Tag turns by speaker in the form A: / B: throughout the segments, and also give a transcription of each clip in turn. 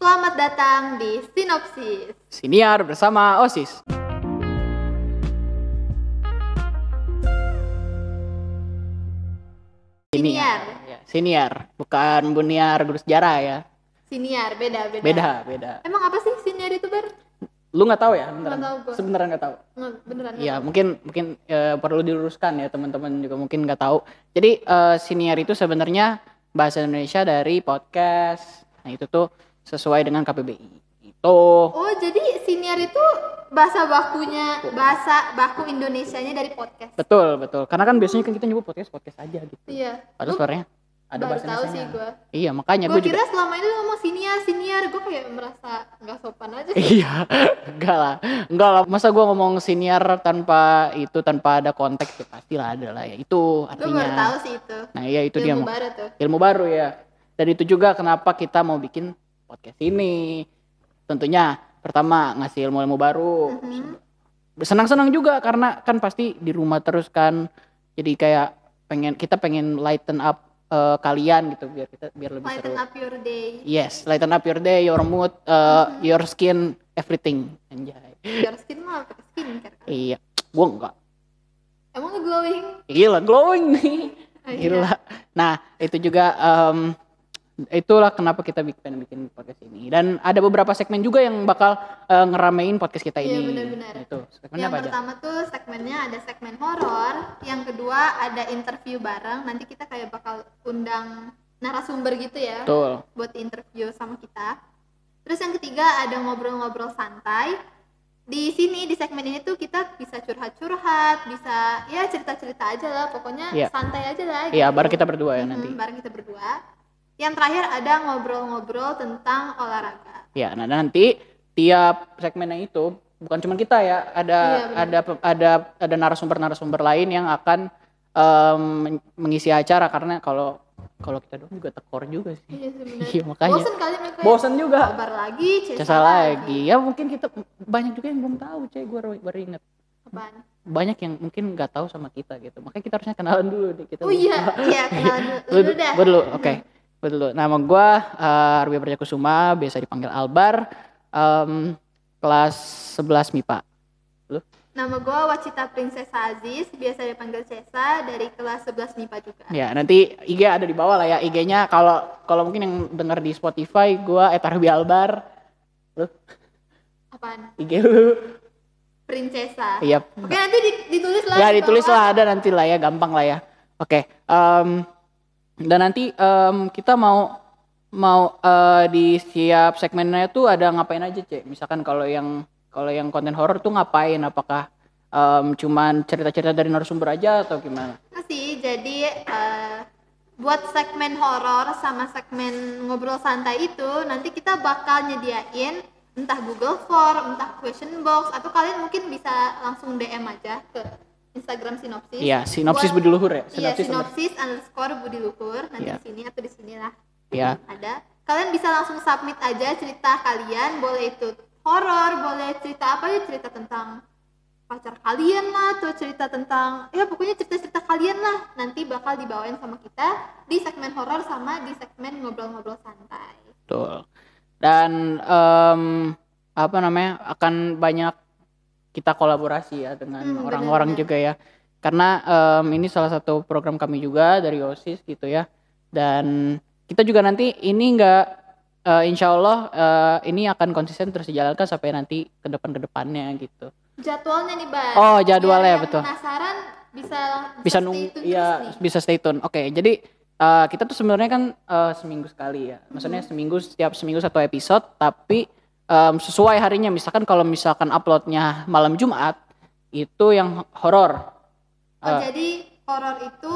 A: Selamat datang di Sinopsis.
B: Siniar bersama OSIS.
A: Siniar.
B: Ya, siniar, bukan buniar guru sejarah ya.
A: Siniar beda beda.
B: Beda, beda.
A: Emang apa sih siniar itu ber?
B: Lu nggak tahu ya? Beneran.
A: tahu gua.
B: Sebenernya nggak tahu.
A: Nggak, Beneran?
B: Iya, mungkin mungkin eh, perlu diluruskan ya teman-teman juga mungkin nggak tahu. Jadi eh, siniar itu sebenarnya bahasa Indonesia dari podcast. Nah, itu tuh sesuai dengan KPBI. Itu
A: Oh jadi siniar itu bahasa bakunya bahasa baku Indonesianya dari podcast.
B: betul, betul. Karena kan biasanya kan kita nyebut podcast podcast aja gitu.
A: Iya.
B: Padahal
A: Lu
B: suaranya ada
A: baru
B: bahasa
A: tahu sih
B: Indonesianya.
A: gue.
B: Iya, makanya
A: Gue
B: gue juga
A: kira selama ini lu ngomong siniar siniar gue kayak merasa nggak sopan aja. sih.
B: Iya, enggak lah, enggak lah. Masa gue ngomong senior tanpa itu, tanpa ada konteks ya pasti lah ada lah ya. Itu
A: Gue baru tahu
B: artinya.
A: sih itu.
B: Nah iya itu dia
A: Ilmu
B: mau-
A: baru tuh.
B: ilmu baru ya. Dan itu juga kenapa kita mau bikin podcast ini. Tentunya pertama ngasih ilmu-ilmu baru.
A: Mhm.
B: Senang-senang juga karena kan pasti di rumah terus kan. Jadi kayak pengen kita pengen lighten up eh, kalian gitu biar kita biar lebih
A: Lighten
B: seru.
A: up your day.
B: Yes, lighten up your day, your mood, eh, your skin, everything. Anjay.
A: Your skin mah pakai skincare. kan?
B: Iya, gua enggak.
A: Emang lu glowing?
B: Gila, glowing nih.
A: Oh, iya.
B: Gila. Nah, itu juga em, itulah kenapa kita bikin pengen bikin podcast ini. Dan ada beberapa segmen juga yang bakal eh, ngeramein podcast kita
A: Iya,
B: ini.
A: benar-benar.
B: Itu. Segmen
A: Yang
B: apa aja?
A: pertama tuh segmennya ada segmen horor, yang kedua ada interview bareng. Nanti kita kayak bakal undang narasumber gitu ya
B: Betul.
A: buat interview sama kita. Terus yang ketiga ada ngobrol-ngobrol santai. Di sini di segmen ini tuh kita bisa curhat-curhat, bisa ya cerita-cerita aja lah, pokoknya
B: Iya.
A: santai aja lah.
B: Iya,
A: gitu.
B: bareng kita berdua ya
A: Mhm,
B: nanti.
A: bareng kita berdua. Yang terakhir ada ngobrol-ngobrol tentang olahraga.
B: Ya, nah nanti tiap segmennya itu bukan cuma kita ya, ada
A: Iya, benar.
B: ada ada ada narasumber-narasumber lain yang akan em, men- mengisi acara karena kalau kalau kita doang juga tekor juga sih.
A: Iya, sebenarnya.
B: Iya, makanya.
A: Bosen Iya. kali mereka ya?
B: Bosan juga.
A: Kabar lagi, cesa,
B: Cesa lagi. Ya mungkin kita banyak juga yang belum tahu, Cek. Gue baru inget.
A: Apaan?
B: Banyak yang mungkin nggak tahu sama kita gitu. Makanya kita harusnya kenalan dulu nih kita.
A: Oh iya, iya kenalan dulu,
B: Lu,
A: dulu dah.
B: gua dulu, oke. Gua dulu. Nama gue uh, Arbi Prajakusuma, biasa dipanggil Albar. Em, kelas 11 MIPA.
A: Nama gue Wacita Princesa Aziz, biasa dipanggil Cesa dari kelas 11 MIPA juga.
B: Ya, nanti IG ada di bawah lah ya. IG-nya kalau kalau mungkin yang dengar di Spotify, gue Etarbi Albar. Lu,
A: Apaan?
B: IG lu.
A: Princesa.
B: Iya.
A: Oke, nanti di- ditulis lah.
B: Ya
A: di
B: ditulis
A: bawah.
B: lah ada nanti lah ya gampang lah ya. Oke. em, dan nanti em, kita mau mau eh, di siap segmennya tuh ada ngapain aja cek. Misalkan kalau yang kalau yang konten horor tuh ngapain? Apakah em, cuman cerita-cerita dari narasumber aja atau gimana?
A: Nah, sih, jadi eh, buat segmen horor sama segmen ngobrol santai itu nanti kita bakal nyediain entah Google Form, entah question box atau kalian mungkin bisa langsung DM aja ke Instagram sinopsis.
B: Iya sinopsis
A: Buat-
B: budi luhur ya.
A: Iya,
B: Sinopsis. bener.
A: sinopsis underscore budi luhur nanti
B: Iya.
A: di sini atau di sinilah
B: Iya.
A: ada. Kalian bisa langsung submit aja cerita kalian, boleh itu horor, boleh cerita apa ya cerita tentang pacar kalian lah, tuh cerita tentang ya pokoknya cerita-cerita kalian lah nanti bakal dibawain sama kita di segmen horor sama di segmen ngobrol-ngobrol santai.
B: Betul. Gitu. Dan em, apa namanya akan banyak kita kolaborasi ya dengan
A: Hmm,
B: orang-orang
A: benar-benar.
B: juga ya. Karena em, ini salah satu program kami juga dari OSIS gitu ya. Dan kita juga nanti ini enggak eh, insya Allah eh, ini akan konsisten terus dijalankan sampai nanti ke depan kedepannya gitu.
A: Jadwalnya nih, Bas.
B: Oh, jadwalnya,
A: Biar yang
B: betul.
A: Penasaran bisa
B: bisa
A: stay
B: nunggu
A: tune
B: ya
A: terus nih.
B: bisa stay tune. Oke, jadi eh, kita tuh sebenarnya kan eh, seminggu sekali ya. Maksudnya
A: Hmm.
B: seminggu setiap seminggu satu episode, tapi em, sesuai harinya. Misalkan kalau misalkan uploadnya malam Jumat itu yang horor
A: Oh,
B: Eh.
A: jadi horor itu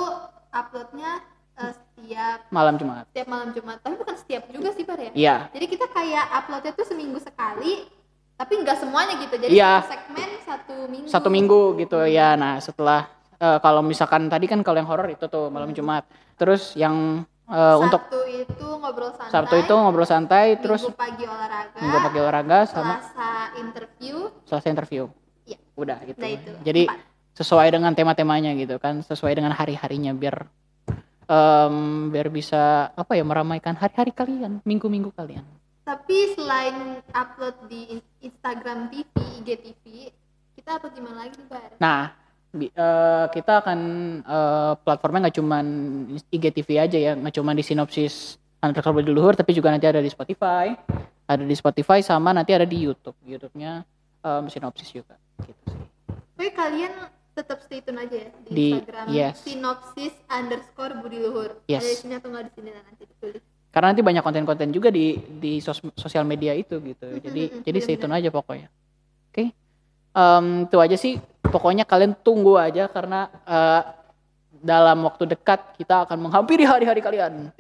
A: uploadnya eh, setiap
B: malam Jumat.
A: setiap malam Jumat, tapi bukan setiap juga sih, Bar ya.
B: Iya.
A: Jadi kita kayak uploadnya tuh seminggu sekali, tapi nggak semuanya gitu. Jadi
B: Iya.
A: satu segmen satu minggu.
B: Satu minggu gitu ya. Nah, setelah eh, kalau misalkan tadi kan kalau yang horor itu tuh malam
A: Hmm.
B: Jumat. Terus yang eh, untuk
A: Sabtu itu ngobrol santai.
B: Sabtu itu ngobrol santai,
A: minggu
B: terus
A: pagi olahraga.
B: minggu pagi olahraga sama
A: Selasa interview.
B: selesai interview.
A: Iya.
B: Udah gitu.
A: Udah itu.
B: Jadi
A: Empat.
B: sesuai dengan tema-temanya gitu kan, sesuai dengan hari-harinya biar em, biar bisa apa ya meramaikan hari-hari kalian, minggu-minggu kalian.
A: Tapi selain upload di Instagram TV, IGTV, kita upload di mana lagi nih, Bar?
B: Nah, bi- eh, kita akan eh, platformnya nggak cuman IGTV aja ya, nggak cuman di sinopsis Undercover di Luhur, tapi juga nanti ada di Spotify, ada di Spotify sama nanti ada di YouTube. YouTube-nya em, sinopsis juga. Gitu sih.
A: Tapi kalian tetap stay tune aja ya di,
B: Di-
A: Instagram
B: yes.
A: sinopsis underscore Budi Luhur.
B: Yes.
A: Ada isinya atau nggak di sini nanti ditulis.
B: Karena nanti banyak konten-konten juga di di sos- sosial media itu gitu.
A: Mm,
B: Jadi
A: mm, mm,
B: jadi stay tune
A: benar-benar.
B: aja pokoknya. Oke. Em, itu aja sih. Pokoknya kalian tunggu aja karena eh, dalam waktu dekat kita akan menghampiri hari-hari kalian.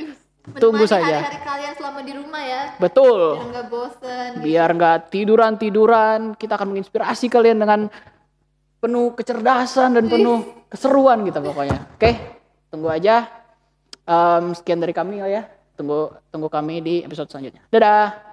B: Tunggu
A: Menemani
B: saja. Oh.
A: Hari-hari kalian selama di rumah ya,
B: Betul.
A: biar nggak bosen. gitu.
B: biar nggak tiduran tiduran kita akan menginspirasi kalian dengan penuh kecerdasan dan penuh keseruan gitu pokoknya oke tunggu aja Em, sekian dari kami ya tunggu tunggu kami di episode selanjutnya dadah